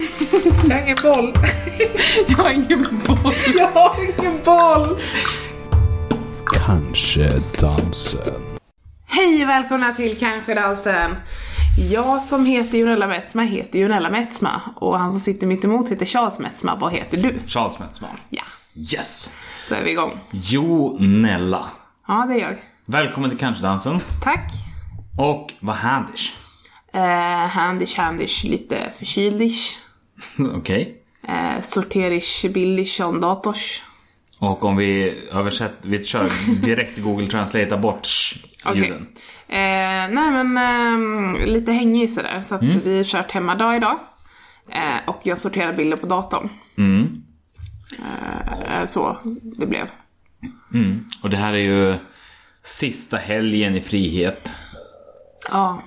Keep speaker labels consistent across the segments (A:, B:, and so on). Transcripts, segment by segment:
A: Jag har ingen boll.
B: Jag har ingen boll.
A: Jag har ingen boll.
C: Kanske dansen.
A: Hej och välkomna till Kanske dansen. Jag som heter Jonella Metsma heter Jonella Metsma och han som sitter mitt emot heter Charles Metsma. Vad heter du?
D: Charles Metzman.
A: Ja,
D: Yes!
A: så är vi igång.
D: Jonella.
A: Ja, det är jag.
D: Välkommen till Kanske dansen.
A: Tack.
D: Och vad händer?
A: Eh, handish, handish, lite förkyldish.
D: Okej.
A: Eh, sorterish, billish, on dators.
D: Och om vi översätter, vi kör direkt Google Translate bort
A: Okej.
D: ljuden.
A: Eh, nej men ehm, lite hängig sådär så att
D: Mm.
A: vi har kört hemmadag idag. Eh, och jag sorterar bilder på datorn.
D: Mm.
A: Eh, så det blev.
D: Och det här är ju sista helgen i frihet
A: Ja.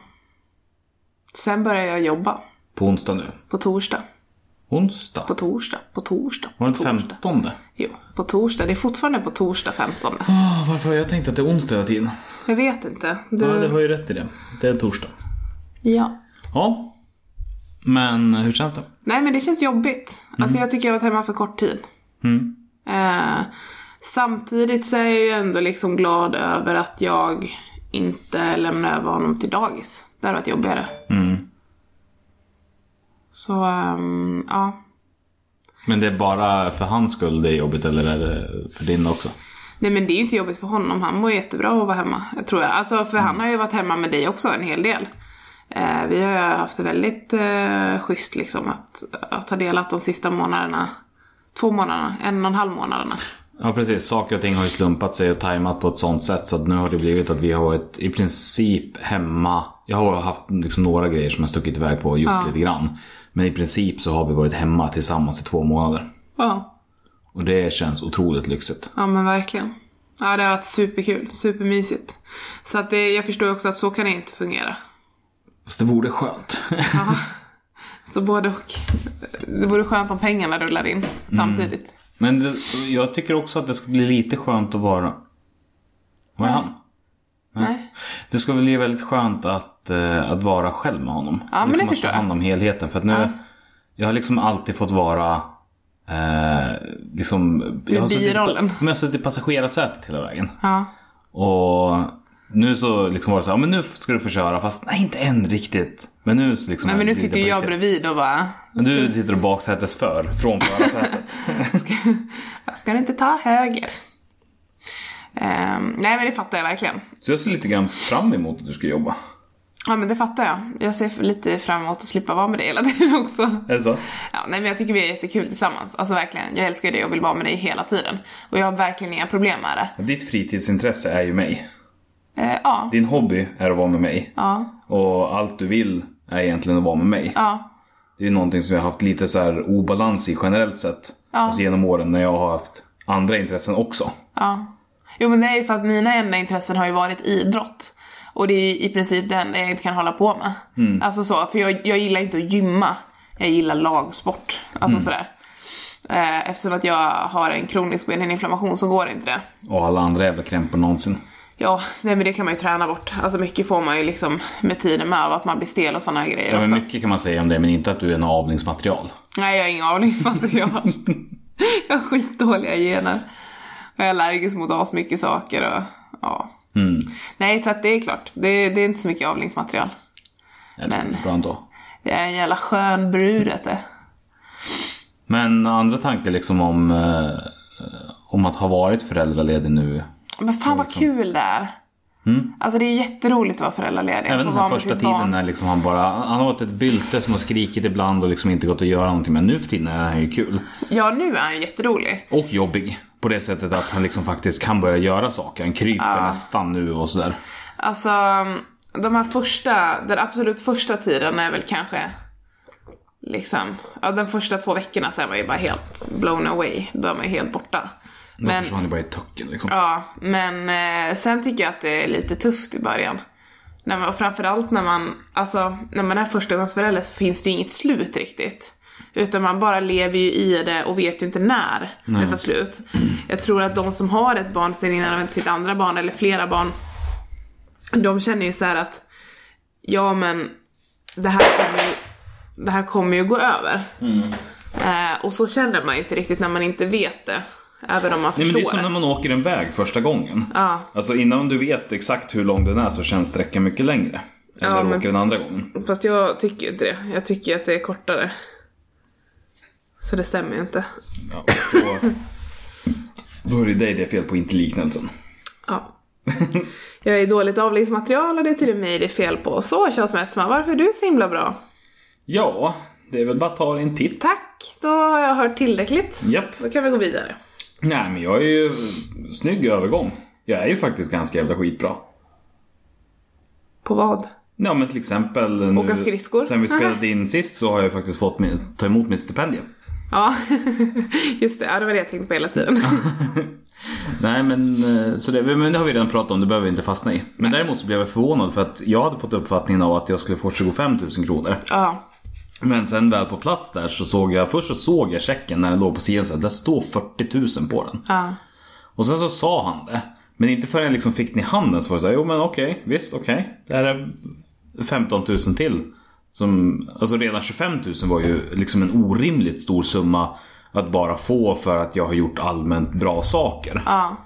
A: Sen börjar jag jobba.
D: på onsdag nu.
A: På torsdag.
D: Onsdag?
A: På torsdag. På torsdag.
D: Var
A: På
D: det inte
A: torsdag.
D: 15?
A: Jo, på torsdag. Det är fortfarande på torsdag 15.
D: Oh, varför har jag tänkt att det är onsdag hela tiden?
A: Jag vet inte.
D: Ja, du
A: Du...
D: har ju rätt i det. Det är torsdag.
A: Ja.
D: Ja. Men hur känns det?
A: Nej men det känns jobbigt. Alltså jag tycker jag har varit hemma för kort tid. Eh, samtidigt så är jag ju ändå liksom glad över att jag inte lämnar över honom till dagis. Det hade varit jobbigare. Så ehm, ja.
D: Men det är bara för hans skull det är jobbigt eller är det för din också?
A: Nej men det är ju inte jobbigt för honom. Han mår jättebra av att vara hemma. Jag tror jag. Alltså för han har ju varit hemma med dig också en hel del. Eh, vi har ju haft det väldigt eh, schysst liksom att, att ha delat de sista månaderna. Två månaderna, en och en halv månaderna.
D: Ja precis, saker och ting har ju slumpat sig och tajmat på ett sånt sätt så att nu har det blivit att vi har varit i princip hemma. Jag har haft liksom några grejer som jag stuckit iväg på och gjort lite grann. Men i princip så har vi varit hemma tillsammans i två månader.
A: Ja.
D: Och det känns otroligt lyxigt.
A: Ja men verkligen. Ja det har varit superkul, supermysigt. Så att det, jag förstår också att så kan det inte fungera.
D: Fast det vore skönt.
A: Så både och. Det vore skönt om pengarna rullar in
D: Mm.
A: samtidigt.
D: Men det, jag tycker också att det ska bli lite skönt att vara... Var är han?
A: Nej.
D: Det ska väl bli väldigt skönt att, eh, att vara själv med honom.
A: men det
D: liksom
A: förstår jag.
D: att ta hand om helheten. För att nu, jag har liksom alltid fått vara eh, liksom, jag har suttit-
A: birollen.
D: Men jag har suttit i passagerarsätet hela vägen.
A: Ja.
D: Och nu så liksom var det så här, "Ja, men nu ska du få köra fast nej inte än riktigt. Men nu så liksom
A: Nej men nu
D: är det
A: sitter
D: på
A: ju jag
D: riktigt.
A: bredvid och bara.
D: Men du sitter och baksätes för, från förarsätet.
A: Ska, ska du inte ta höger? Ehm, nej men det fattar jag verkligen.
D: så jag ser lite grann fram emot att du ska jobba.
A: Ja men det fattar jag. Jag ser lite fram emot att slippa vara med dig hela tiden också.
D: Är det så?
A: Ja, nej men jag tycker vi är jättekul tillsammans. Alltså verkligen, jag älskar dig och vill vara med dig hela tiden. Och jag har verkligen inga problem med det.
D: Ditt fritidsintresse är ju mig.
A: Eh, ja,
D: Din hobby är att vara med mig.
A: ja,
D: Och allt du vill är egentligen att vara med mig.
A: ja,
D: Det är någonting som jag har haft lite så här obalans i generellt sett. Alltså genom åren när jag har haft andra intressen också.
A: ja. Jo men det är ju för att mina enda intressen har ju varit idrott. Och det är i princip det enda jag inte kan hålla på med.
D: Mm.
A: Alltså så, för jag, jag gillar inte att gymma. Jag gillar lagsport. Alltså
D: Mm.
A: sådär. Eh, eftersom att jag har en kronisk beninflammation så går inte det.
D: Och alla andra jävla krämpor någonsin.
A: Ja, nej men det kan man ju träna bort. Alltså mycket får man ju liksom med tiden med av att man blir stel och sådana grejer
D: Ja,
A: också.
D: men mycket kan man säga om det men inte att du är en avlingsmaterial.
A: Nej, jag har inga avlingsmaterial. jag har skitdåliga gener. Och jag är allergisk mot asmycket saker och ja.
D: Mm.
A: Nej, så att det är klart. Det, det är inte så mycket avlingsmaterial.
D: Jag tror
A: Men-
D: det är bra ändå.
A: Jag är en jävla skön brud vet du.
D: Men andra tankar liksom om, eh, om att ha varit föräldraledig nu.
A: Men fan vad kul det är. Alltså det är jätteroligt att vara föräldraledig.
D: Mm. Även
A: Få
D: den
A: vara
D: här
A: med
D: första
A: sitt barn.
D: tiden när liksom han bara, han har åt ett bylte som har skrikit ibland och liksom inte gått att göra någonting. Men nu för tiden är han ju kul.
A: Ja, nu är han ju jätterolig.
D: Och jobbig. På det sättet att han liksom faktiskt kan börja göra saker. Han kryper nästan nu och sådär.
A: Alltså, de här första, den absolut första tiden är väl kanske liksom, ja den första två veckorna så är man ju bara helt blown away. Då är man ju helt borta.
D: Då försvann det bara i tucken liksom.
A: Ja, men eh, sen tycker jag att det är lite tufft i början. När man, och framförallt när man, alltså, när man är förstagångsförälder så finns det ju inget slut riktigt. Utan man bara lever ju i det och vet ju inte när det tar slut. Jag tror att de som har ett barn sen innan de väntar sitt andra barn eller flera barn, de känner ju så här att ja men det här kommer ju det här kommer ju gå över.
D: Mm.
A: Eh, och så känner man ju inte riktigt när man inte vet det. Även om man
D: Nej, men
A: förstår
D: det är som när man åker en väg första gången.
A: Ja.
D: Alltså innan du vet exakt hur lång den är så känns sträckan mycket längre. Än
A: Ja,
D: när du
A: men-
D: åker den andra gången.
A: Fast jag tycker ju inte det. Jag tycker ju att det är kortare. Så det stämmer ju inte.
D: Ja, och då, då är det dig det är fel på, inte liknelsen.
A: Ja. Jag är dåligt avläggningsmaterial och det är till och med mig det är fel på. Så könsmätsma, varför är du så himla bra?
D: Ja, det är väl bara att ta en titt.
A: Tack, då har jag hört tillräckligt.
D: Japp.
A: Då kan vi gå vidare.
D: Nej men jag är ju... Snygg övergång. Jag är ju faktiskt ganska jävla skitbra.
A: På vad?
D: Ja men till exempel... nu-
A: Åka skridskor.
D: Sen vi spelade in sist så har jag ju faktiskt fått min, ta emot mitt stipendium.
A: Ja, just det. Ja, det var det jag tänkte på hela tiden.
D: Nej men, eh, så det, men det har vi redan pratat om, det behöver vi inte fastna i. Men däremot så blev jag förvånad för att jag hade fått uppfattningen av att jag skulle få 25 000 kronor.
A: Ja.
D: Men sen väl på plats där så såg jag, först så såg jag checken när den låg på sidan så här, där står 40 000 på den.
A: Ja.
D: Och sen så sa han det. Men inte förrän jag liksom fick den i handen så var det såhär, jo men okej, visst okej. Det här är 15 000 till. Som, alltså redan 25 000 var ju liksom en orimligt stor summa att bara få för att jag har gjort allmänt bra saker.
A: Ja.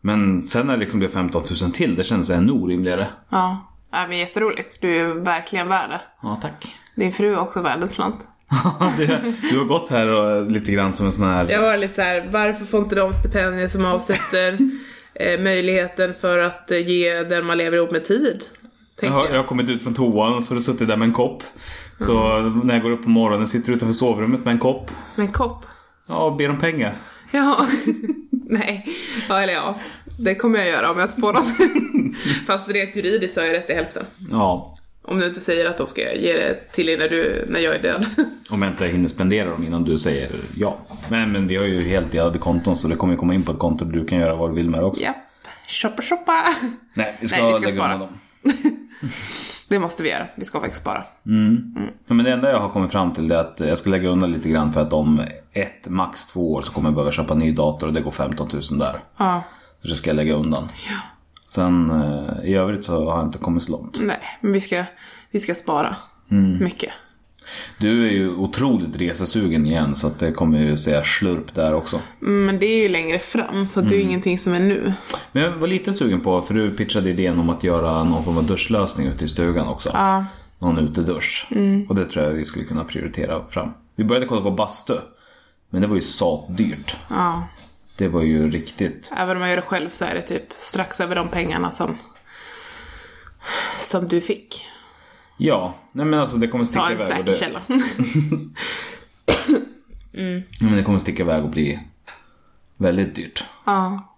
D: Men sen när det liksom blev 15 000 till, det kändes ännu orimligare.
A: Ja. ja men jätteroligt. Du är verkligen värd det.
D: Ja, tack.
A: Din fru är också värd en slant.
D: du, du har gått här och lite grann som en sån här...
A: Jag var lite så här, varför får inte de stipendier som avsätter eh, möjligheten för att eh, ge den man lever ihop med tid?
D: Jag
A: Tänkte
D: har,
A: jag.
D: jag har kommit ut från toan så har du suttit där med en kopp. Så när jag går upp på morgonen sitter du utanför sovrummet med en kopp.
A: Med en kopp.
D: Ja, och ber om pengar.
A: Ja, nej. Ja, eller ja. Det kommer jag göra om jag får något. Fast rent juridiskt så har jag rätt i hälften.
D: Ja,
A: Om du inte säger att de ska ge det till dig när, du, när jag är död.
D: om jag inte hinner spendera dem innan du säger ja. Men, men vi har ju helt delade konton så det kommer ju komma in på ett konto där du kan göra vad du vill med det också.
A: Japp. Shoppa, shoppa.
D: Nej, vi ska,
A: Nej, vi ska
D: lägga
A: spara.
D: undan dem.
A: Det måste vi göra. Vi ska faktiskt spara.
D: Ja, men det enda jag har kommit fram till är att jag ska lägga undan lite grann för att om ett, max två år så kommer jag behöva köpa en ny dator och det går 15 000 där.
A: Ja.
D: Så det ska jag lägga undan. Sen eh, i övrigt så har jag inte kommit så långt.
A: Nej, men vi ska, vi ska spara. Mycket.
D: Du är ju otroligt resesugen igen så att det kommer ju säga slurp där också.
A: Men det är ju längre fram, så att det är ju ingenting som är nu.
D: Men jag var lite sugen på, för du pitchade idén om att göra någon form av duschlösning ute i stugan också.
A: Ja. Mm.
D: Någon utedusch. Och det tror jag vi skulle kunna prioritera fram. Vi började kolla på bastu. Men det var ju satdyrt.
A: Ja.
D: Det var ju riktigt.
A: Även om jag gör det själv så är det typ strax över de pengarna som, som du fick.
D: Ja, nej men alltså det kommer
A: Ta
D: sticka
A: en
D: iväg.
A: säker
D: Och Mm, det,
A: källa.
D: men det kommer sticka iväg och bli väldigt dyrt.
A: ja.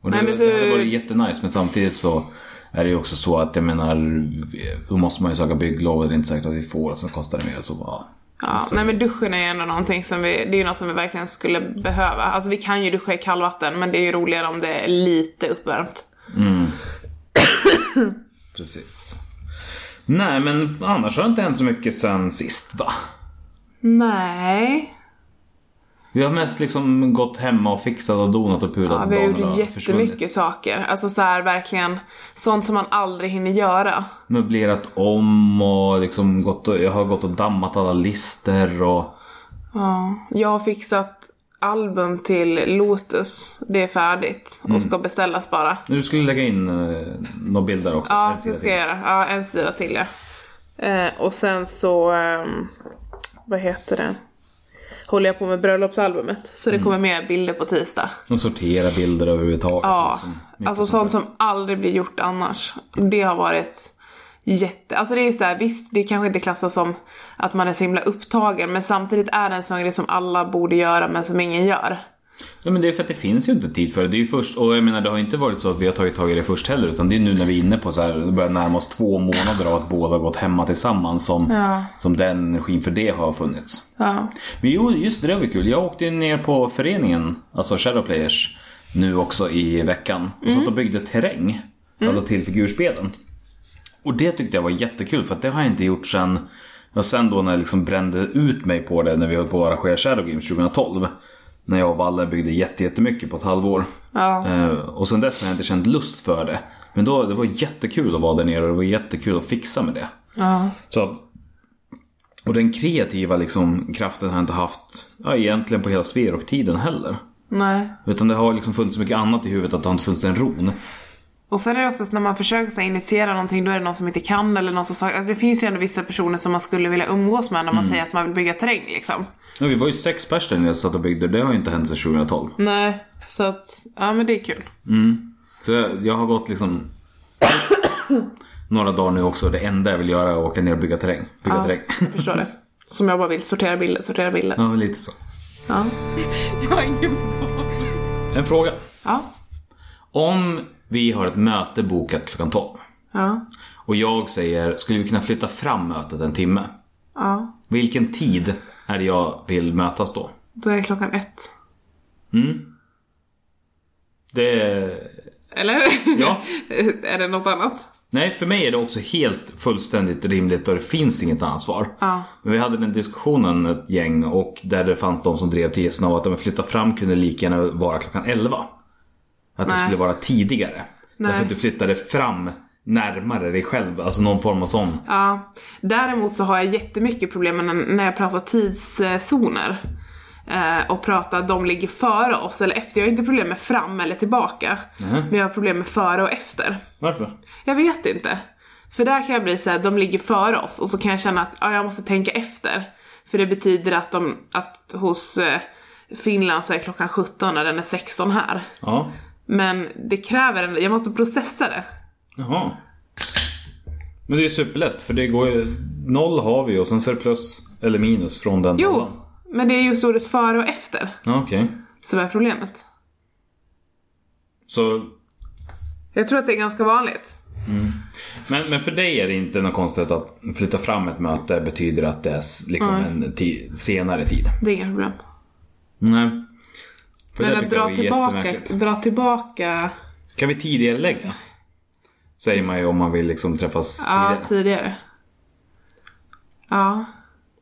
D: Och det,
A: Nej, men så-
D: det hade varit jättenice men samtidigt så är det ju också så att jag menar då måste man ju söka bygglov och det är inte säkert att vi får och så kostar det mer. Så, ja.
A: Ja, nej men duschen är ju ändå någonting som vi, det är ju något som vi verkligen skulle behöva. Alltså vi kan ju duscha i kallvatten men det är ju roligare om det är lite uppvärmt.
D: Precis. Nej men annars har det inte hänt så mycket sen sist va?
A: Nej.
D: Vi har mest liksom gått hemma och fixat och donat och pulat
A: Ja,
D: och
A: vi har
D: dagarna
A: gjort
D: försvunnit.
A: jättemycket saker. Alltså så här verkligen, sånt som man aldrig hinner göra.
D: Möblerat om och liksom gått och, jag har gått och dammat alla lister och
A: Ja. Jag har fixat album till Lotus. Det är färdigt
D: Mm.
A: och ska beställas bara.
D: nu skulle jag lägga in eh, några bilder också.
A: Ja,
D: Så
A: det
D: jag
A: ska jag göra. Ja, en sida till ja. Eh, och sen så, ehm, vad heter det? Håller jag på med bröllopsalbumet. Så det kommer mer bilder på tisdag.
D: Och sortera bilder överhuvudtaget.
A: Ja,
D: liksom.
A: alltså sånt som aldrig blir gjort annars. Det har varit jätte... Alltså det är så här, visst det kanske inte klassas som att man är så himla upptagen. Men samtidigt är det en sån grej som alla borde göra men som ingen gör.
D: Ja, men det är för att det finns ju inte tid för det. det är ju först, och jag menar det har ju inte varit så att vi har tagit tag i det först heller. Utan det är nu när vi är inne på så här, det börjar närma oss två månader av att båda har gått hemma tillsammans som,
A: Ja.
D: som den energin för det har funnits.
A: Ja.
D: Men jo, just det, det var kul. Jag åkte ju ner på föreningen, alltså Shadowplayers, nu också i veckan. Och satt och byggde terräng,
A: Mm.
D: alltså till figurspelen. Och det tyckte jag var jättekul för att det har jag inte gjort sen och sen då när jag liksom brände ut mig på det när vi höll på att arrangera Shadow Games 2012. När jag och Valle byggde jätte- jättemycket på ett halvår.
A: Ja.
D: Eh, och sen dess har jag inte känt lust för det. Men då, det var jättekul att vara där nere och det var jättekul att fixa med det.
A: Ja.
D: Så att Och den kreativa liksom, kraften har jag inte haft ja, egentligen på hela Sverok-tiden heller.
A: Nej.
D: Utan det har liksom funnits så mycket annat i huvudet att det har inte funnits en ron.
A: Och sen är det oftast när man försöker så här, initiera någonting då är det någon som inte kan eller någon som saknar. Alltså, det finns ju ändå vissa personer som man skulle vilja umgås med när man säger att man vill bygga terräng liksom.
D: Ja, vi var ju sex pers där nere som satt och byggde. Det har ju inte hänt sedan 2012.
A: Nej, så att ja men det är kul.
D: Så jag, jag har gått liksom några dagar nu också. Det enda jag vill göra är att åka ner och bygga terräng. Bygga terräng.
A: Jag förstår det. Som jag bara vill sortera bilder, sortera bilder.
D: Ja, lite så.
A: Ja.
E: Jag har ingen boll.
D: En fråga.
A: Ja.
D: Om vi har ett möte bokat klockan 12
A: Ja.
D: och jag säger, skulle vi kunna flytta fram mötet en timme?
A: Ja.
D: Vilken tid är det jag vill mötas då?
A: Då är klockan ett.
D: Det
A: Eller?
D: Ja.
A: är det något annat?
D: Nej, för mig är det också helt fullständigt rimligt och det finns inget ansvar.
A: Ja.
D: Men vi hade den diskussionen ett gäng och där det fanns de som drev tesen av att om vi flyttar fram kunde det lika gärna vara klockan 11. Att det
A: Nej.
D: skulle vara tidigare.
A: Nej.
D: Därför att du flyttade fram närmare dig själv, alltså någon form av sån.
A: Ja. Däremot så har jag jättemycket problem med när- när jag pratar tidszoner. Eh, och pratar de ligger före oss eller efter. Jag har inte problem med fram eller tillbaka. Men jag har problem med före och efter.
D: Varför?
A: Jag vet inte. För där kan jag bli så här, de ligger före oss och så kan jag känna att ja, jag måste tänka efter. För det betyder att, de, att hos eh, Finland så är klockan 17 och den är 16 här.
D: Ja.
A: Men det kräver en, jag måste processa det.
D: Jaha. Men det är ju superlätt för det går ju... Noll har vi och sen så är det plus eller minus från den
A: Jo,
D: nollan.
A: men det är just ordet före och efter
D: Ja, okej.
A: som är problemet.
D: Så
A: Jag tror att det är ganska vanligt.
D: Men, men för dig är det inte något konstigt att flytta fram ett möte betyder att det är s- liksom en ti- senare tid?
A: Det är inga problem.
D: Nej. För det
A: Men att
D: tycker jag
A: dra
D: är
A: tillbaka,
D: jättemärkligt.
A: dra tillbaka
D: Kan vi tidigarelägga? Säger man ju om man vill liksom träffas
A: Ja,
D: tidigare.
A: tidigare. Ja.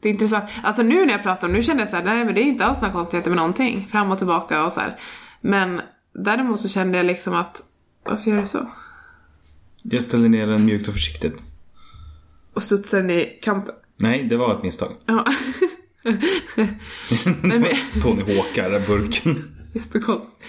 A: Det är intressant. Alltså nu när jag pratar om det, nu kände jag så här, nej men det är inte alls några konstigheter med någonting. Fram och tillbaka och så här. Men däremot så kände jag liksom att, varför gör du så?
D: Jag ställer ner den mjukt och försiktigt.
A: Och studsade den i kanten.
D: Nej, det var ett misstag.
A: Ja. nej men,
D: Tony Hawkar, den burken.
A: jättekonstigt.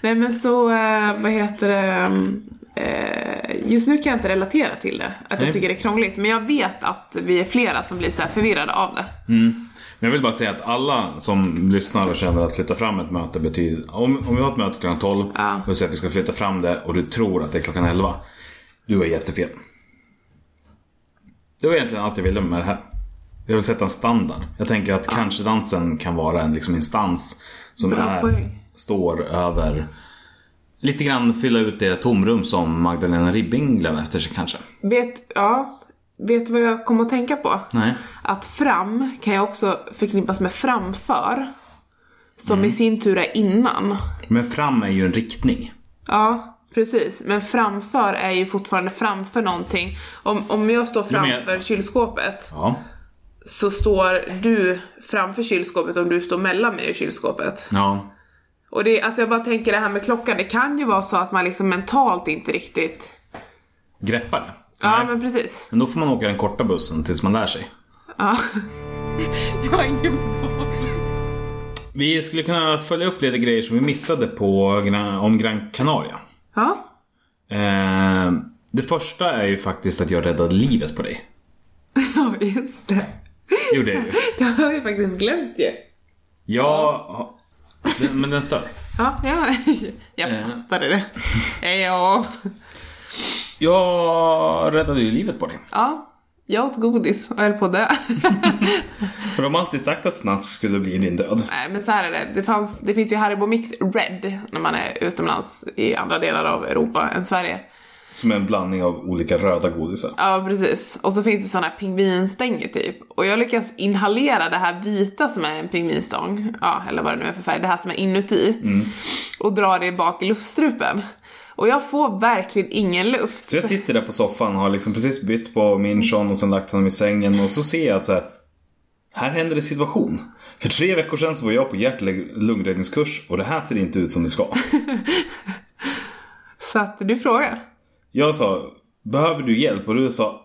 A: Nej men så, eh, vad heter det? mm, eh, Just nu kan jag inte relatera till det, att
D: Nej.
A: jag tycker det är krångligt. Men jag vet att vi är flera som blir så här förvirrade av det.
D: Men jag vill bara säga att alla som lyssnar och känner att flytta fram ett möte betyder... Om, om vi har ett möte klockan 12
A: Ja.
D: och vi säger att vi ska flytta fram det och du tror att det är klockan 11. Du har jättefel. Det var egentligen allt jag ville med det här. Jag vill sätta en standard. Jag tänker att kanske dansen kan vara en liksom, instans som
A: Bra
D: är,
A: poäng.
D: står över... Lite grann fylla ut det tomrum som Magdalena Ribbing lämnade efter sig kanske.
A: Vet, ja, vet du vad jag kom att tänka på?
D: Nej.
A: Att fram kan ju också förknippas med framför. Som
D: Mm.
A: i sin tur är innan.
D: Men fram är ju en riktning.
A: Ja, precis. Men framför är ju fortfarande framför någonting. Om, om jag står
D: Ja, men
A: framför
D: jag-
A: kylskåpet
D: Ja.
A: så står du framför kylskåpet om du står mellan mig och kylskåpet.
D: Ja.
A: Och det, alltså jag bara tänker det här med klockan, det kan ju vara så att man liksom mentalt inte riktigt...
D: Greppa det.
A: Ja,
D: Nej.
A: men precis.
D: Men då får man åka den korta bussen tills man lär sig.
A: Ja.
E: Jag har ingen boll.
D: Vi skulle kunna följa upp lite grejer som vi missade på, Gran- om Gran Canaria.
A: ja.
D: Eh, det första är ju faktiskt att jag räddade livet på dig.
A: Ja, just det.
D: Det gjorde jag ju.
A: Det har jag faktiskt glömt ju.
D: Jag... Den, men den stör.
A: Ja, ja. jag fattade det. Ja.
D: Jag räddade ju livet på dig.
A: ja, jag åt godis och höll på det.
D: För de har alltid sagt att snask skulle bli din död.
A: Nej men så här är det, det, fanns, det finns ju Haribo Mix Red när man är utomlands i andra delar av Europa än Sverige.
D: Som en blandning av olika röda godisar.
A: Ja precis, och så finns det såna här pingvinstänger typ. Och jag lyckas inhalera det här vita som är en pingvinstång, ja eller vad det nu är för färg, det här som är inuti. Och dra det bak i luftstrupen. Och jag får verkligen ingen luft.
D: Så jag sitter där på soffan och har liksom precis bytt på min Sean och sen lagt honom i sängen och så ser jag att så här, här händer det situation. För tre veckor sedan så var jag på hjärt och lungräddningskurs och det här ser inte ut som det ska.
A: Så att du frågar.
D: Jag sa, behöver du hjälp? Och du sa,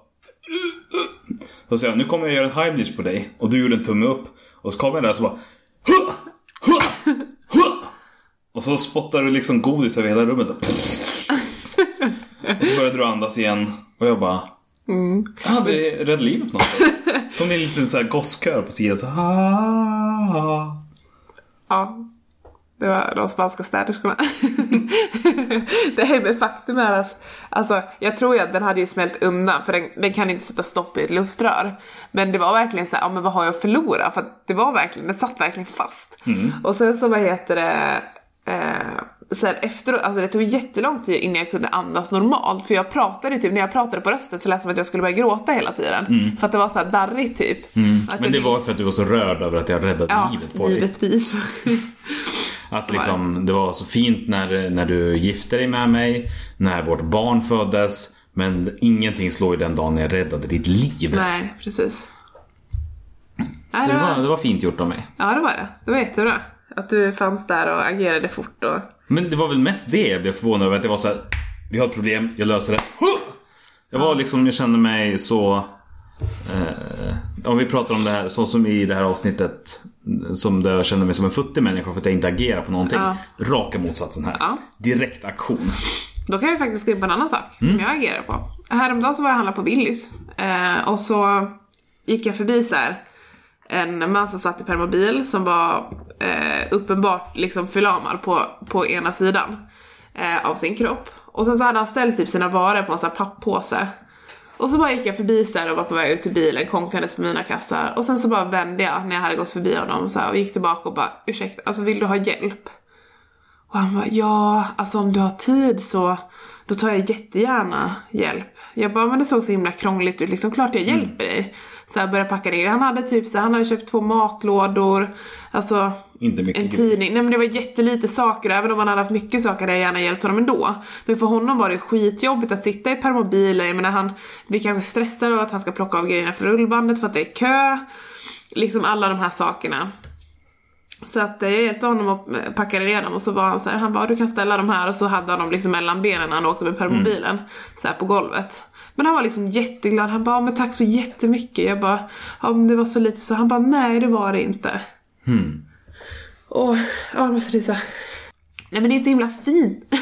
D: Så säger jag, nu kommer jag göra en Heimlich på dig. Och du gjorde en tumme upp. Och så kommer jag där och så bara... "Huh! Huh! Huh!" Och så spottar du liksom godis över hela rummet. Så. Och så började du andas igen. Och jag bara... Jag hade rädd livet på något sätt. kom det en liten så här gosskör på sidan. Så, "Ah, ah, ah."
A: Ja. Det var de spanska städerskorna. det här med faktum är att alltså, jag tror ju att den hade ju smält undan för den, den kan inte sätta stopp i ett luftrör. Men det var verkligen så här, ja men vad har jag att förlora? För att det var verkligen, den satt verkligen fast.
F: Mm.
A: Och sen så vad heter det, eh, sen efteråt, alltså det tog jättelång tid innan jag kunde andas normalt. För jag pratade typ, när jag pratade på rösten så lät det som att jag skulle börja gråta hela tiden. För att det var så här darrigt typ. Att
F: Mm. Men det
A: jag-
F: var för att du var så rörd över att jag räddat
A: ja,
F: livet på dig.
A: givetvis.
F: Att liksom, det var så fint när, när du gifte dig med mig, när vårt barn föddes. Men ingenting slår ju den dagen när jag räddade ditt liv.
A: Nej, precis. Nej,
F: Så
A: det
F: det, var,
A: var,
F: det var fint gjort av mig.
A: ja, det var det. Det var jättebra. Att du fanns där och agerade fort och...
F: Men det var väl mest det jag blev förvånad över. Att det var så här, vi har ett problem, jag löser det. Huh! Jag var liksom, jag kände mig så... Eh, om vi pratar om det här, så som i det här avsnittet. Som där jag kände mig som en futtig människa för att jag inte agerar på någonting.
A: Ja.
F: Raka motsatsen här.
A: Ja.
F: Direkt aktion.
A: Då kan vi faktiskt gå in på en annan sak som jag agerar på. Häromdagen så var jag och handlade på Willys eh, och så gick jag förbi så här en man som satt i permobil som var eh, uppenbart liksom förlamad på, på ena sidan eh, av sin kropp. Och sen så hade han ställt typ sina varor på en sån här papppåse. Och så bara gick jag förbi så här och var på väg ut till bilen, konkades på mina kassar. Och sen så bara vände jag när jag hade gått förbi honom så här, och gick tillbaka och bara ursäkta, alltså vill du ha hjälp? Och han bara, ja, alltså om du har tid så då tar jag jättegärna hjälp. Jag bara, men det såg så himla krångligt ut, liksom klart jag
D: Mm.
A: hjälper dig. Så jag började packa ner, han hade typ så här, han hade köpt två matlådor, alltså
D: Inte mycket
A: en
D: grejer.
A: tidning. Nej men det var jättelite saker, även om han hade haft mycket saker hade jag gärna hjälpt honom ändå. Men för honom var det skitjobbigt att sitta i permobilen, jag menar han blir kanske stressad av att han ska plocka av grejerna från rullbandet för att det är kö. Liksom alla de här sakerna. Så att eh, jag hjälpte honom och eh, packade ner dem och så var han så här, han bara du kan ställa dem här och så hade han dem liksom mellan benen när han åkte med permobilen. Så här på golvet. Men han var liksom jätteglad, han bara men tack så jättemycket. Jag bara, ja men det var så lite så. Han bara nej det var det inte. Åh, ja, jag måste risa. Nej men det är så himla fint.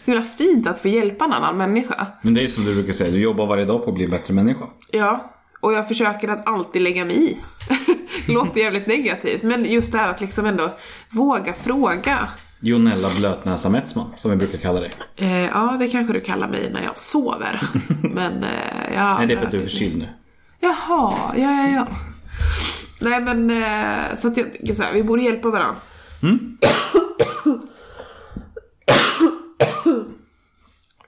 A: Så himla fint att få hjälpa en annan människa.
F: Men det är ju som du brukar säga, du jobbar varje dag på att bli en bättre människa.
A: Ja, och jag försöker att alltid lägga mig i. Låter jävligt negativt, men just det här att liksom ändå våga fråga.
F: Jonella Blötnäsa Metsman, som vi brukar kalla dig.
A: Eh, ja, det kanske du kallar mig när jag sover. Men eh, jag...
F: Nej, det är för att du är förkyld nu.
A: Jaha, ja, ja, ja. Nej men, eh, så att jag tycker så här, vi borde hjälpa varandra.
F: Mm.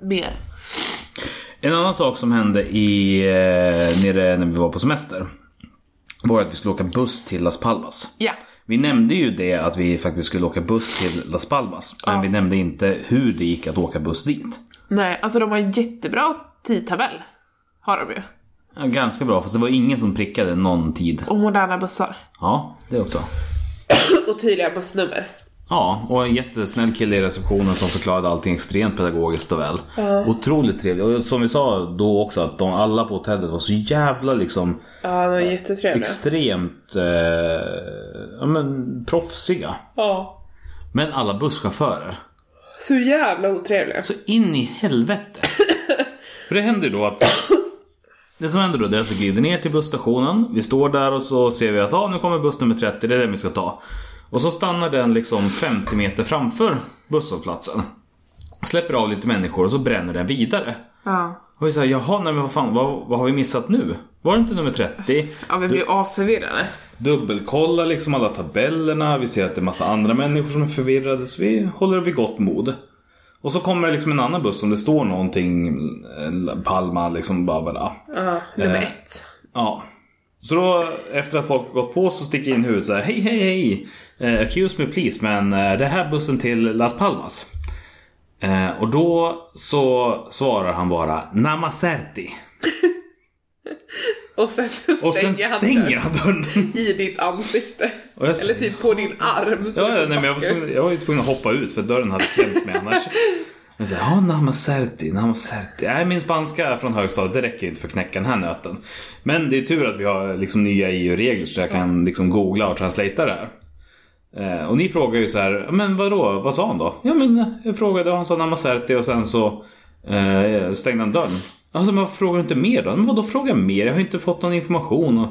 A: Mer.
D: En annan sak som hände i, eh, nere när vi var på semester var att vi skulle åka buss till Las Palmas.
A: Ja.
D: Vi nämnde ju det att vi faktiskt skulle åka buss till Las Palmas. Men vi nämnde inte hur det gick att åka buss dit.
A: Nej, alltså de har en jättebra tidtabell. Har de ju.
D: Ja, ganska bra, fast det var ingen som prickade någon tid.
A: Och moderna bussar.
D: Ja, det också.
A: Och tydliga bussnummer.
D: Ja, och en jättesnäll kille i receptionen som förklarade allting extremt pedagogiskt och väl. Otroligt trevlig. Och som vi sa då också att de alla på hotellet var så jävla liksom
A: Ja, de är jättetrevliga.
D: extremt eh, ja, men, proffsiga.
A: Ja.
D: Men alla busschaufförer.
A: Så jävla otrevliga.
D: Så in i helvete. För det händer ju då att det som händer då det är att vi glider ner till busstationen. Vi står där och så ser vi att ah, nu kommer buss nummer 30, det är den vi ska ta. Och så stannar den liksom 50 meter framför busshållplatsen. Släpper av lite människor och så bränner den vidare.
A: Ja.
D: Och vi säger jaha, nej men vad fan, vad, vad har vi missat nu? Var det inte nummer 30?
A: Ja, vi blir ju asförvirrade.
D: Dubbelkollar liksom alla tabellerna, vi ser att det är massa andra människor som är förvirrade så vi håller vid gott mod. Och så kommer det liksom en annan buss som det står någonting, eh, Palma liksom bara bara.
A: Ja, nummer
D: Eh.
A: ett.
D: Ja. Så då efter att folk har gått på så sticker jag in huvudet så här, hej hej hej! Eh, accuse me please men eh, det här bussen till Las Palmas. Eh, och då så svarar han bara Namaserti.
A: Och sen så
D: Och sen stänger han dörren.
A: i ditt ansikte.
D: Och jag- Eller
A: typ på din arm.
D: Ja, ja, nej, men jag, var tvungen, jag var ju tvungen att hoppa ut för dörren hade klämt mig annars. Men så här, ja, namaserti, namaserti. Nej, min spanska från högstadiet, det räcker inte för att knäcka den här nöten. Men det är tur att vi har liksom nya EU-regler så jag kan liksom googla och translatea det här. Eh, Och ni frågar ju så här, "Ja, men vadå, vad sa han då? Ja men eh, jag frågade och han sa namaserti och sen så eh, stängde han dörren. Alltså men varför frågar du inte mer då? Men vadå fråga mer? Jag har ju inte fått någon information. Och,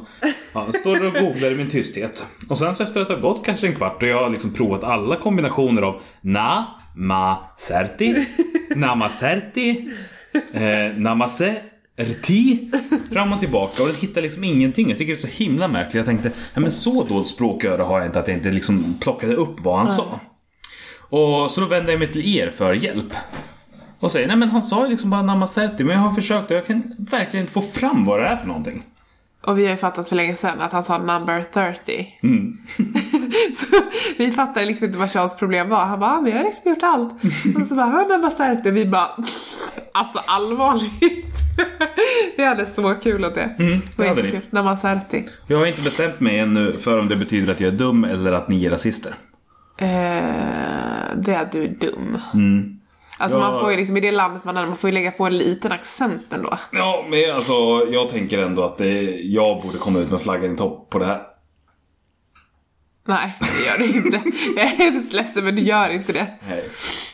D: ja, jag står där och googlar i min tysthet. Och sen så efter att det har gått kanske en kvart och jag har liksom provat alla kombinationer av na, ma, serti, namaserti, eh, namaserti. Fram och tillbaka och jag hittar liksom ingenting. Jag tycker det är så himla märkligt. Jag tänkte, nej men så dåligt språköra har jag inte att jag inte liksom plockade upp vad han sa. Och så då vänder jag mig till er för hjälp. Och säger, nej men han sa ju liksom bara namaserti men jag har försökt och jag kan verkligen inte få fram vad det är för någonting.
A: Och vi har ju fattat för länge sedan att han sa number 30.
D: Mm.
A: så vi fattade liksom inte vad Charles problem var. Han bara, "Ah, vi har liksom gjort allt. Och så bara, "Ah, number 30. Vi bara, alltså allvarligt. vi hade så kul åt det. Mm,
D: det hade ni.
A: Number 30.
D: Jag har inte bestämt mig ännu för om det betyder att jag är dum eller att ni är rasister.
A: Eh, det är att du är dum. Alltså
D: Mm. Ja.
A: man får ju liksom, i det landet man är, man får ju lägga på en liten accent ändå.
D: Ja, men alltså jag tänker ändå att det, jag borde komma ut med flaggan i topp på det här.
A: Nej, det gör du inte. Jag är hemskt ledsen men du gör inte det.
D: Nej.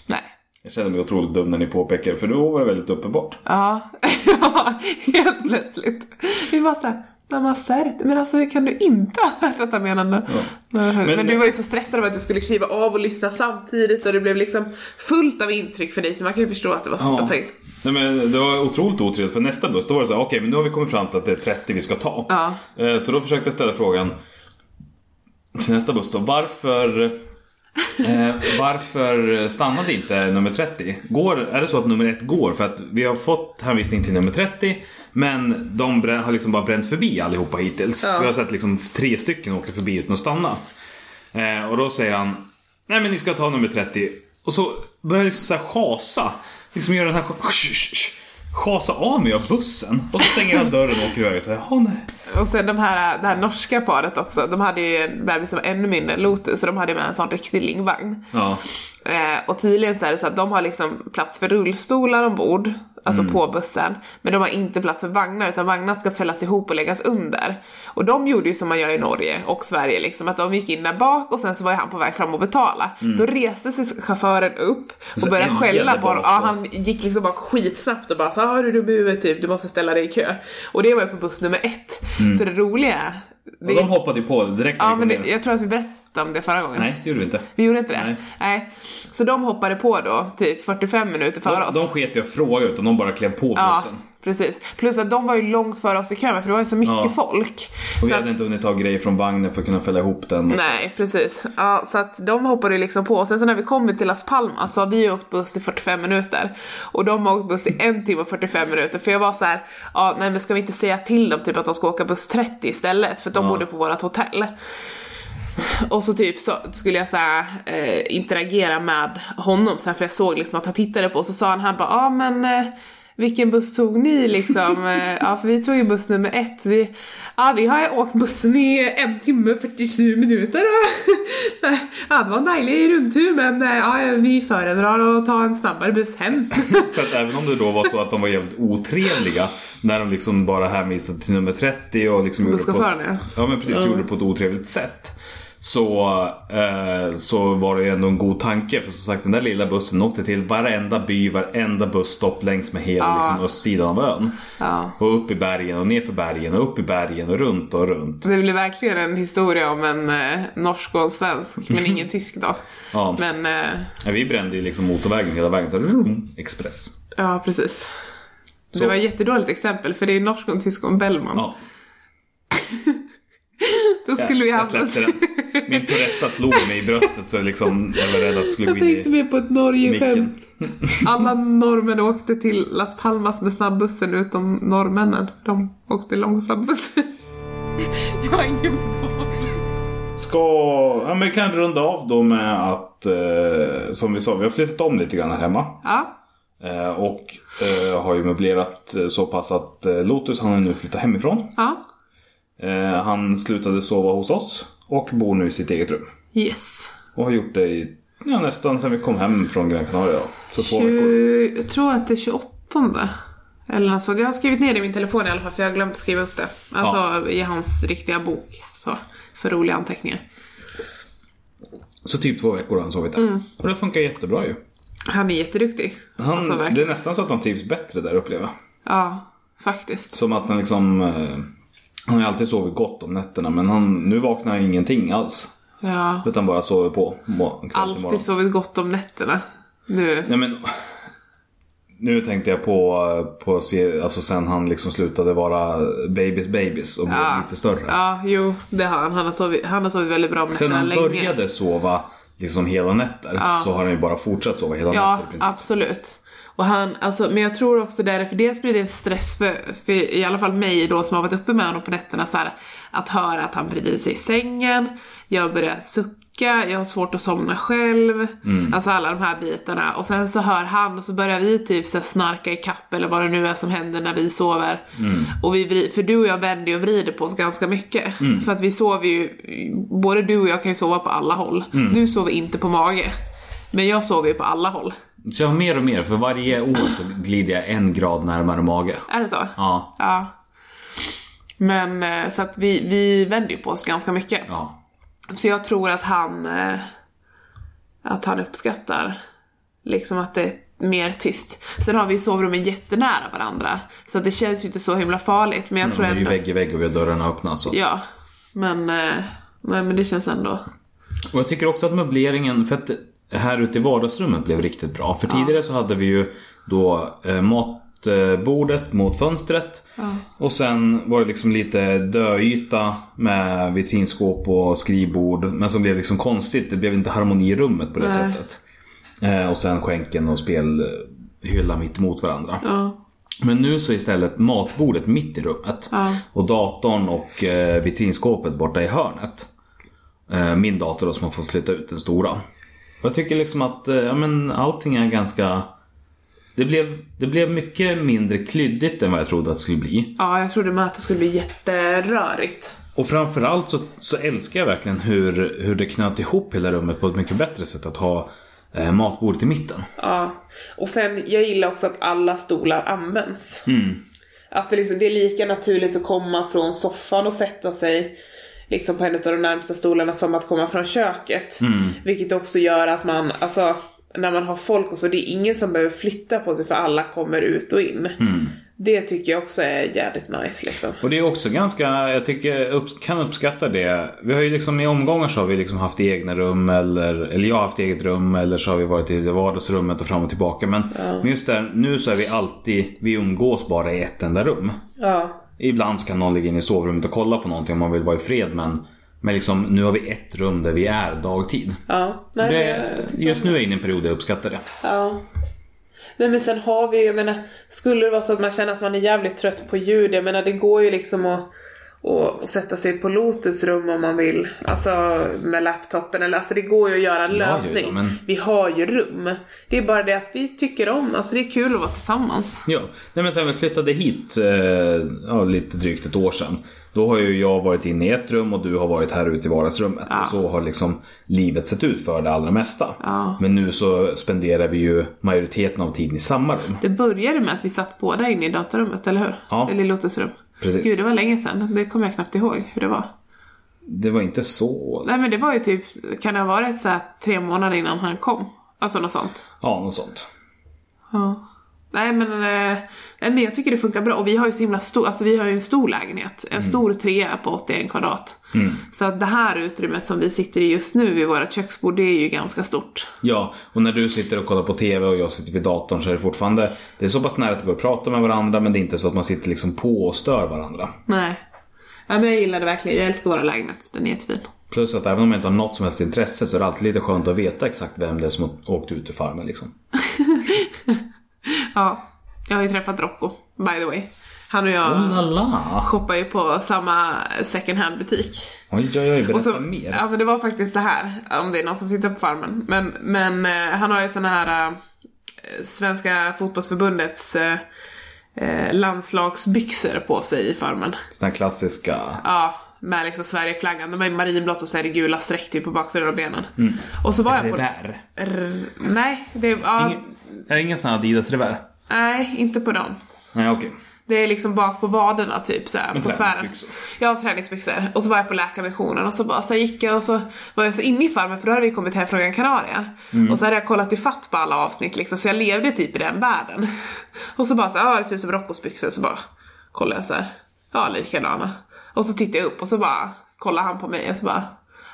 A: Nej.
D: Jag känner mig otroligt dum när ni påpekar det, för då var det väldigt uppenbart.
A: Ja, ja helt plötsligt. Vi var såhär, namaste. Men alltså hur kan du inte ha hört detta menande? Men, men du var ju så stressad över att du skulle kliva av och lyssna samtidigt och det blev liksom fullt av intryck för dig så man kan ju förstå att det var svårt att ta in.
D: Nej, men det var otroligt otrevligt för nästa buss då var det så här, okej men nu har vi kommit fram till att det är 30 vi ska ta.
A: Ja.
D: Eh, Så då försökte jag ställa frågan till nästa buss då, varför eh, varför stannade inte nummer 30? Går, är det så att nummer ett går? För att vi har fått hänvisning till nummer 30 men de brä- har liksom bara bränt förbi allihopa hittills.
A: Ja.
D: Vi har sett liksom tre stycken åka förbi utan att stanna. Eh, och då säger han Nej men ni ska ta nummer 30. Och så börjar jag liksom så här chasa. Liksom gör den här chasa av mig av bussen. Och så stänger han dörren och åker iväg. Så här, "Jaha, nej.
A: Och sen de här, det här norska paret också, de hade ju en bebis som var ännu mindre än Lotus och de hade med en sån riktig lingvagn.
D: Ja.
A: Eh, och tydligen så är det så att de har liksom plats för rullstolar ombord, alltså
D: Mm.
A: på bussen. Men de har inte plats för vagnar utan vagnar ska fällas ihop och läggas under. Och de gjorde ju som man gör i Norge och Sverige liksom, att de gick in där bak och sen så var ju han på väg fram och betala. Då reste sig chauffören upp och
D: Mm. Så
A: började
D: älgade
A: skälla på
D: bak
A: honom. Ja,
D: då.
A: han gick liksom bara skitsnabbt och bara sa ah, är du dum i huvudet typ, du måste ställa dig i kö. Och det var ju på buss nummer ett. Så det roliga, det,
D: Mm. Och de hoppade ju på det direkt när
A: ja
D: vi
A: men
D: kom
A: det,
D: ner.
A: jag tror att vi berättade om det förra gången.
D: Nej, det gjorde vi inte.
A: Vi gjorde inte det?
D: Nej.
A: Nej. Så de hoppade på då, typ 45 minuter före
D: De,
A: oss.
D: de sket i att fråga utan de bara klev på bussen.
A: ja, precis. Plus att de var ju långt före oss i kön för det var ju så mycket
D: Ja.
A: folk.
D: Och vi
A: Så att,
D: hade inte hunnit ta grejer från vagnen för att kunna fälla ihop den.
A: nej, precis. Ja, så att de hoppade ju liksom på. Och sen så när vi kom till Las Palmas så har vi ju åkt buss i 45 minuter. Och de har åkt buss i en timme och 45 minuter. För jag var så här, ja nej men ska vi inte säga till dem typ att de ska åka buss 30 istället? För de
D: Ja.
A: bodde på vårt hotell. Och så typ så skulle jag så här, eh, interagera med honom så här, för jag såg liksom att han tittade på och så sa han han bara ja ah, men eh, vilken buss tog ni liksom? Eh, ja för vi tog ju buss nummer ett. Vi, ja vi har ju åkt bussen i en timme och 47 minuter. ja det var en dejlig rundtur men eh, ja, vi föredrar att ta en snabbare buss hem.
D: För att även om det då var så att de var jävligt otrevliga när de liksom bara hänvisade till nummer 30 och liksom gjorde det på,
A: Busschauffören, ja.
D: ett, ja, men precis, gjorde det på ett otrevligt sätt. Så, eh, så var det ju ändå en god tanke för som sagt den där lilla bussen åkte till varenda by, varenda busstopp längs med hela liksom, östsidan av ön.
A: Ja.
D: Och upp i bergen och ner för bergen och upp i bergen och runt och runt.
A: Det blev verkligen en historia om en eh, norsk och en svensk men ingen tysk då.
D: Ja.
A: Men eh,
D: Ja, Vi brände ju liksom motorvägen hela vägen. Så, vroom, express.
A: ja precis.
D: Så-
A: Det var ett jättedåligt exempel för det är norsk och tysk och en Bellman.
D: Ja.
A: Då skulle vi
D: jag
A: haft en...
D: släppte den. Min Toretta slog mig i bröstet så liksom, jag var rädd att det skulle
A: Jag
D: gå in i
A: tänkte mer på ett Norge-skämt.
D: micken.
A: Alla norrmän åkte till Las Palmas med snabbbussen utom norrmännen. De åkte långsambussen.
B: Jag är ingen boll.
D: Ska, ja, men vi kan runda av då med att eh, som vi sa, vi har flyttat om lite grann här hemma.
A: Ja,
D: Eh, och eh, har ju möblerat eh, så pass att eh, Lotus han har nu flyttat hemifrån.
A: ja,
D: Eh, han slutade sova hos oss och bor nu i sitt eget rum.
A: yes.
D: Och har gjort det i Ja, nästan sen vi kom hem från Gran Canaria. Så två veckor.
A: 20, jag tror att det är 28 eller något sånt. Jag har skrivit ner det i min telefon i alla fall för jag har glömt att skriva upp det. Alltså i hans riktiga bok. Så, för roliga anteckningar.
D: Så typ två veckor har han sovit där.
A: Mm.
D: Och det funkar jättebra ju.
A: Han är jätteduktig.
D: Han,
A: alltså
D: det är
A: verkligen.
D: nästan så att han trivs bättre där upplever jag.
A: Ja, faktiskt.
D: Som att han liksom... Eh, han har ju alltid sovit gott om nätterna men han, nu vaknar han ingenting alls.
A: Ja.
D: Utan bara sover på. må- kväll till morgon.
A: Alltid sovit gott om nätterna. Nu.
D: Nej men... Nu tänkte jag på, på se- alltså sen han liksom slutade vara babys babys och blev
A: Ja.
D: lite större.
A: Ja, jo, det har han. Han har sovit, han har sovit väldigt bra om
D: Sen
A: nätterna
D: han
A: länge.
D: började sova liksom hela nätter så har han ju bara fortsatt sova hela
A: Ja,
D: nätter i princip.
A: absolut. Och han, alltså, men jag tror också det, för dels blir det en stress för, för i alla fall mig då som har varit uppe med honom på nätterna så här, att höra att han vrider sig i sängen, jag börjar sucka, jag har svårt att somna själv, alltså alla de här bitarna. Och sen så hör han och så börjar vi typ så här, snarka i kapp eller vad det nu är som händer när vi sover. Och vi, vri- för du och jag vänder ju och vrider på oss ganska mycket. För att vi sover ju, både du och jag kan ju sova på alla håll. Du sover inte på mage. Men jag sover ju på alla håll.
F: Så jag har mer och mer, för varje år så glider jag en grad närmare mage.
A: Är det så?
F: Ja,
A: Ja. Men eh, så att vi, vi vänder ju på oss ganska mycket.
F: ja.
A: Så jag tror att han eh, att han uppskattar liksom att det är mer tyst. Sen har vi ju sovrummen jättenära varandra. Så att det känns ju inte så himla farligt. Men jag
F: Vi
A: tror
F: är ju
A: ändå...
F: vägg i vägg och vi har dörrarna öppna. Så.
A: Ja. Men, eh, nej, men det känns ändå...
F: Och jag tycker också att möbleringen, för att här ute i vardagsrummet blev riktigt bra. För tidigare så hade vi ju då eh, matbordet mot fönstret.
D: Och sen var det liksom lite döyta med vitrinskåp och skrivbord. Men som blev liksom konstigt. Det blev inte harmoni i rummet på det
A: Nej.
D: sättet. Eh, och sen skänken och spelhylla mitt emot varandra.
A: Ja.
D: Men nu så är istället matbordet mitt i rummet.
A: Ja.
D: Och datorn och eh, vitrinskåpet borta i hörnet. Eh, min dator då som har fått flytta ut, den stora. Och jag tycker liksom att eh, ja, men allting är ganska... Det blev, det blev mycket mindre klyddigt än vad jag trodde att det skulle bli.
A: ja, jag trodde med att det skulle bli jätterörigt.
D: Och framförallt så, så älskar jag verkligen hur, hur det knöt ihop hela rummet på ett mycket bättre sätt att ha eh, matbordet i mitten.
A: Ja. Och sen, jag gillar också att alla stolar används. Att det, liksom, det är lika naturligt att komma från soffan och sätta sig liksom på en av de närmsta stolarna som att komma från köket. Vilket också gör att man, alltså när man har folk och så, det är ingen som behöver flytta på sig för alla kommer ut och in. Det tycker jag också är jävligt nice liksom.
D: Och det är också ganska, jag tycker jag upp, kan uppskatta det. Vi har ju liksom i omgångar så har vi liksom haft egna rum eller, eller jag har haft eget rum eller så har vi varit i det vardagsrummet och fram och tillbaka. Men, men just där, nu så är vi alltid, vi umgås bara i ett enda rum.
A: Ja.
D: Ibland så kan någon ligga inne i sovrummet och kolla på någonting om man vill vara i fred men men liksom, nu har vi ett rum där vi är dagtid.
A: Ja. Nej, men
D: Det,
A: jag-
D: just nu är jag inne i en period där jag uppskattar det.
A: Ja. Nej men sen har vi ju, jag menar, skulle det vara så att man känner att man är jävligt trött på ljud, jag menar det går ju liksom att och sätta sig på Lotus rum om man vill. Alltså med laptopen eller alltså det går ju att göra en
F: ja,
A: lösning.
F: men-
A: Vi har ju rum. Det är bara det att vi tycker om, alltså det är kul att vara tillsammans.
D: Ja, nej men sen vi flyttade hit eh, ja, lite drygt ett år sedan. Då har ju jag varit inne i ett rum och du har varit här ute i vardagsrummet. Och så har liksom livet sett ut för det allra mesta.
A: Ja.
D: Men nu så spenderar vi ju majoriteten av tiden i samma rum.
A: Det började med att vi satt båda inne i datarummet, eller hur?
D: Ja.
A: Eller i Lotus rum.
D: Precis.
A: Gud, det var länge sedan. Det kommer jag knappt ihåg hur det var.
D: Det var inte så...
A: Nej men det var ju typ, kan det ha varit så här tre månader innan han kom? Alltså något sånt.
D: Ja, något sånt.
A: Ja. Nej men, eh, nej men jag tycker det funkar bra och vi har ju så himla stor, alltså vi har ju en stor lägenhet, en stor trea på 81 kvadrat. Så att det här utrymmet som vi sitter i just nu vid vårt köksbord det är ju ganska stort.
D: Ja, och när du sitter och kollar på TV och jag sitter vid datorn så är det fortfarande... Det är så pass nära att det går att prata med varandra men det är inte så att man sitter liksom på och stör varandra.
A: Nej. Ja, men jag gillar det verkligen, jag älskar vår lägenhet, den är jättefin.
D: Plus att även om jag inte har något som helst intresse så är det alltid lite skönt att veta exakt vem det är som har åkt ut ur farmen liksom.
A: Ja. Jag har ju träffat Rocco, by the way. Han och jag
D: Lala.
A: shoppar ju på samma second hand butik.
D: Oj, oj, oj, berätta
A: Och så, Ah.
D: mer.
A: ja men det var faktiskt det här, om det är någon som tittar på Farmen. Men, men eh, han har ju såna här eh, Svenska fotbollsförbundets eh, eh, landslagsbyxor på sig i Farmen.
D: Såna här klassiska...
A: Ja, med liksom Sverigeflaggan. De är i marinblått och så är det gula streck typ på baksidan av benen.
D: Mm.
A: Och så var jag på...
D: Revär.
A: R- nej, det är... Ja,
D: Ingen,
A: ah.
D: är det ingen sån här Adidas-revär?
A: Nej, inte på dem.
D: Nej okej.
A: Det är liksom bak på vaderna typ så här,
D: Men
A: på tvären.
D: träningsbyxor.
A: Jag har träningsbyxor. Och så var jag på läkarmissionen och så bara så här gick jag och så var jag så inne i farmen för då hade vi kommit hem från Gran Canaria. Och så hade jag kollat i fatt på alla avsnitt liksom så jag levde typ i den världen. Och så bara så här, "Ah, det ser ut som Roccos byxor så bara kollade jag så här. ja likadana. Och så tittade jag upp och så bara kollade han på mig och så bara,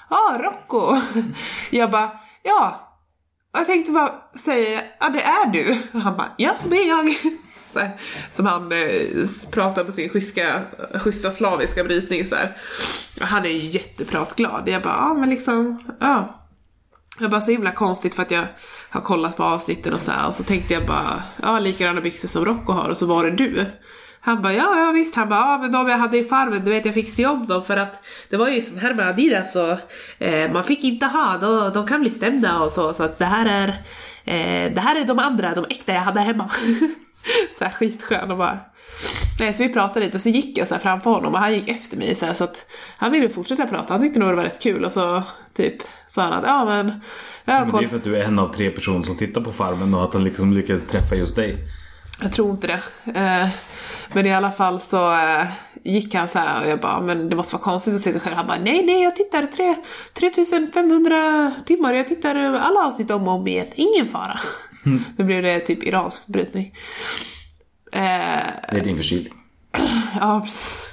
A: ja Rocco. Jag bara, ja och jag tänkte bara säga, ja det är du. Och han bara, ja det är jag. Så här, som han eh, s- pratar på sin schyssta, schyssta slaviska brytning så här. Och Han är ju jättepratglad. Jag bara, ja men liksom, ja. Jag bara så himla konstigt för att jag har kollat på avsnitten och så här och så tänkte jag bara, ja likadana byxor som Rocco har och så var det du. Han bara, ja, ja visst, han bara, ja men de jag hade i farmen, du vet jag fick jobb dem för att det var ju sån här med Adidas och eh, man fick inte ha, de, de kan bli stämda och så, så att det här är, eh, det här är de andra, de äkta jag hade hemma. så här skitskön och bara, nej så vi pratade lite och så gick jag så här framför honom och han gick efter mig så här så att han ville fortsätta prata, han tyckte nog det var rätt kul och så typ sa han att, ja men, jag
D: Men
A: har
D: det är
A: koll.
D: ju för att du är en av tre personer som tittar på Farmen och att han liksom lyckades träffa just dig.
A: Jag tror inte det. Eh, Men i alla fall så eh, gick han så här och jag bara, men det måste vara konstigt att se sig själv. Han bara, nej nej jag tittar tre- 3500 timmar, jag tittar alla avsnitt om och om igen, ingen fara.
D: Mm.
A: Nu blev det typ iransk brytning. Eh,
D: Det är din förkylning.
A: Ja, precis.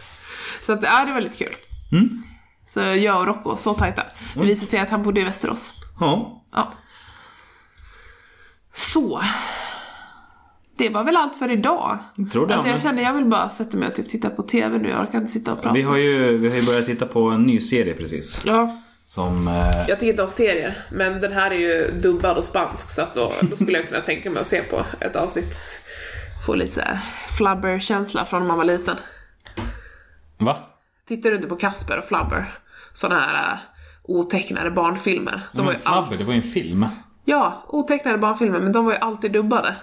A: Så att, ja, det var lite kul.
D: Mm.
A: Så jag och Rocco, så tajta. Det visade sig att han bodde i Västerås.
D: Ja.
A: Ja. Så. Det var väl allt för idag.
D: Jag tror det,
A: Alltså jag
D: men-
A: känner jag vill bara sätta mig och typ titta på TV nu. Jag orkar inte sitta och prata.
D: Vi har, ju, vi har ju börjat titta på en ny serie precis.
A: Ja,
D: Som... Eh,
A: jag tycker inte om serier. Men den här är ju dubbad och spansk så att då, då skulle jag kunna tänka mig att se på ett avsnitt. Få lite så här flubber-känsla från när man var liten.
D: va?
A: Tittar du inte på Casper och Flubber? Såna här äh, otecknade barnfilmer. De var ju
D: Men
A: all...
D: Flubber, det var ju en film.
A: Ja, otecknade barnfilmer, men de var ju alltid dubbade.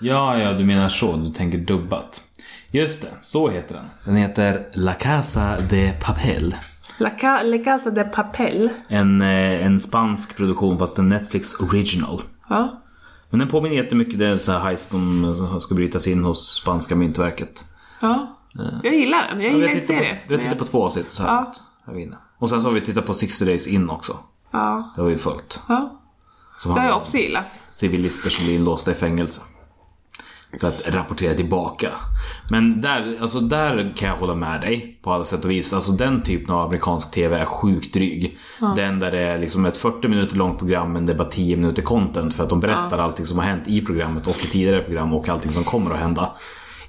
D: Ja, ja, du menar så. Du tänker dubbat. Just det, så heter den. Den heter La Casa de Papel.
A: La, ca... La Casa de Papel.
D: En, eh, en spansk produktion fast en Netflix original.
A: Ja.
D: Men den påminner jättemycket, det är en sån här heist de som ska brytas in hos spanska myntverket.
A: ja. Jag gillar den, jag
D: Vi
A: gillar
D: har
A: inte
D: tittat
A: serier.
D: på, vi
A: men
D: har tittat
A: jag-
D: på två avsnitt så här
A: Ja.
D: långt. Här vi är inne. Och sen så har vi tittat på 60 Days In också.
A: Ja.
D: Det har vi följt.
A: ja.
D: Som
A: Det har
D: handlar
A: jag
D: om
A: också gillat.
D: civilister som blir inlåsta i fängelse. För att rapportera tillbaka. Men där, alltså där kan jag hålla med dig på alla sätt och vis. Alltså den typen av amerikansk TV är sjukt dryg. Den där det är liksom ett 40 minuter långt program men det är bara 10 minuter content för att de berättar allting som har hänt i programmet och i tidigare program och allting som kommer att hända.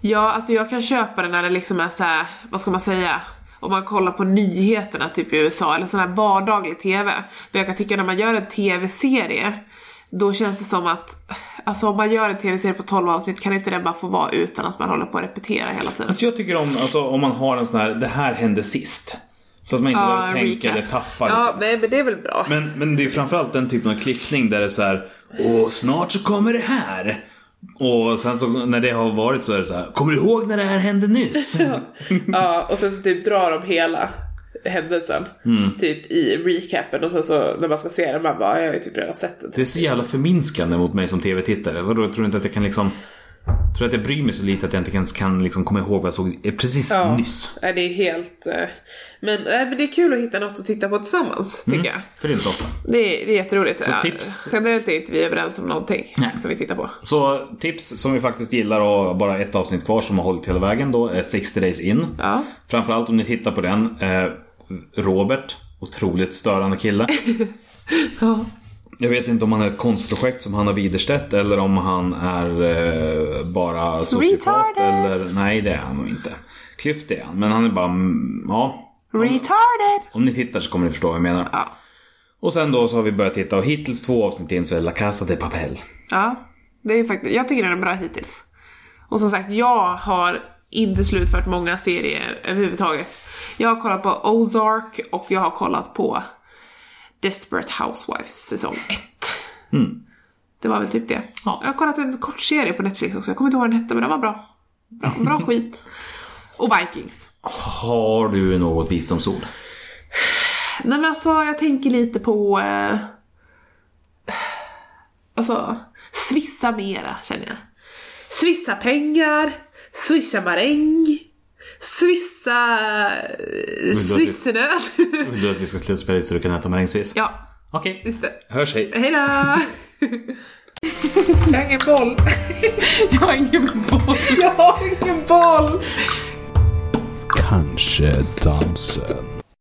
A: Ja, alltså jag kan köpa det när det liksom är så här, vad ska man säga? Om man kollar på nyheterna typ i USA eller sån här vardaglig TV. Men jag kan tycka när man gör en TV-serie, då känns det som att, alltså om man gör en TV-serie på 12 avsnitt kan inte den bara få vara utan att man håller på att repetera hela tiden.
D: Alltså jag tycker om alltså, om man har en sån här, det här hände sist. Så att man inte
A: Ah,
D: behöver tänka eller tappa.
A: Ja,
D: Liksom.
A: nej men det är väl bra.
D: Men, men det är framförallt den typen av klippning där det är så här Åh, snart så kommer det här. Och sen så när det har varit så är det så här Kommer du ihåg när det här hände nyss?
A: Ja, och sen så typ drar de hela händelsen
D: Mm.
A: typ i recapen och sen så när man ska se den man bara, jag har ju typ redan sett den.
D: det är så jävla förminskande mot mig som tv-tittare. Vadå, tror du inte att jag kan liksom Tror du att jag bryr mig så lite att jag inte ens kan liksom komma ihåg vad jag såg eh, precis nyss?
A: Nej, det är helt... eh, Men, nej, men det är kul att hitta något att titta på tillsammans, tycker jag.
D: För det är inte så ofta.
A: Det är, det är jätteroligt. Ja,
D: Mm. tips.
A: Generellt är inte vi överens om någonting
D: Nej.
A: som vi tittar på.
D: Så tips som vi faktiskt gillar och bara ett avsnitt kvar som har hållit hela vägen då är 60 Days In.
A: Ja.
D: Framförallt om ni tittar på den. Eh, Robert, otroligt störande kille.
A: Ja.
D: Jag vet inte om han är ett konstprojekt som Hanna Widerstedt eller om han är eh, bara sociopat.
A: Retarded.
D: Eller, nej, det är han nog inte. Klyft är han, men han är bara... mm, Ja,
A: Retarded!
D: om ni tittar så kommer ni förstå vad jag menar.
A: Ja.
D: Och sen då så har vi börjat titta och hittills två avsnitt in så är La Casa de Papel.
A: Ja, det är faktiskt, jag tycker den är bra hittills. Och som sagt, jag har inte slutfört många serier överhuvudtaget. Jag har kollat på Ozark och jag har kollat på Desperate Housewives säsong 1. Det var väl typ det.
D: Ja.
A: Jag har kollat en kort serie på Netflix också, jag kommer inte ihåg vad den hette men den var bra. Bra, bra skit. Och Vikings.
D: Har du något visdomsord?
A: Nej men alltså jag tänker lite på... Eh, alltså, svissa mera känner jag. Svissa pengar, swisha maräng, swissa... eh, Swissenöt.
D: Vill du att vi ska slutspela så du kan äta marängsviss?
A: ja,
D: Okej,
A: just det.
D: hörs hej.
A: Hejdå! jag har ingen boll.
G: Jag har ingen boll.
A: Jag har ingen boll!
C: Kanske dansen.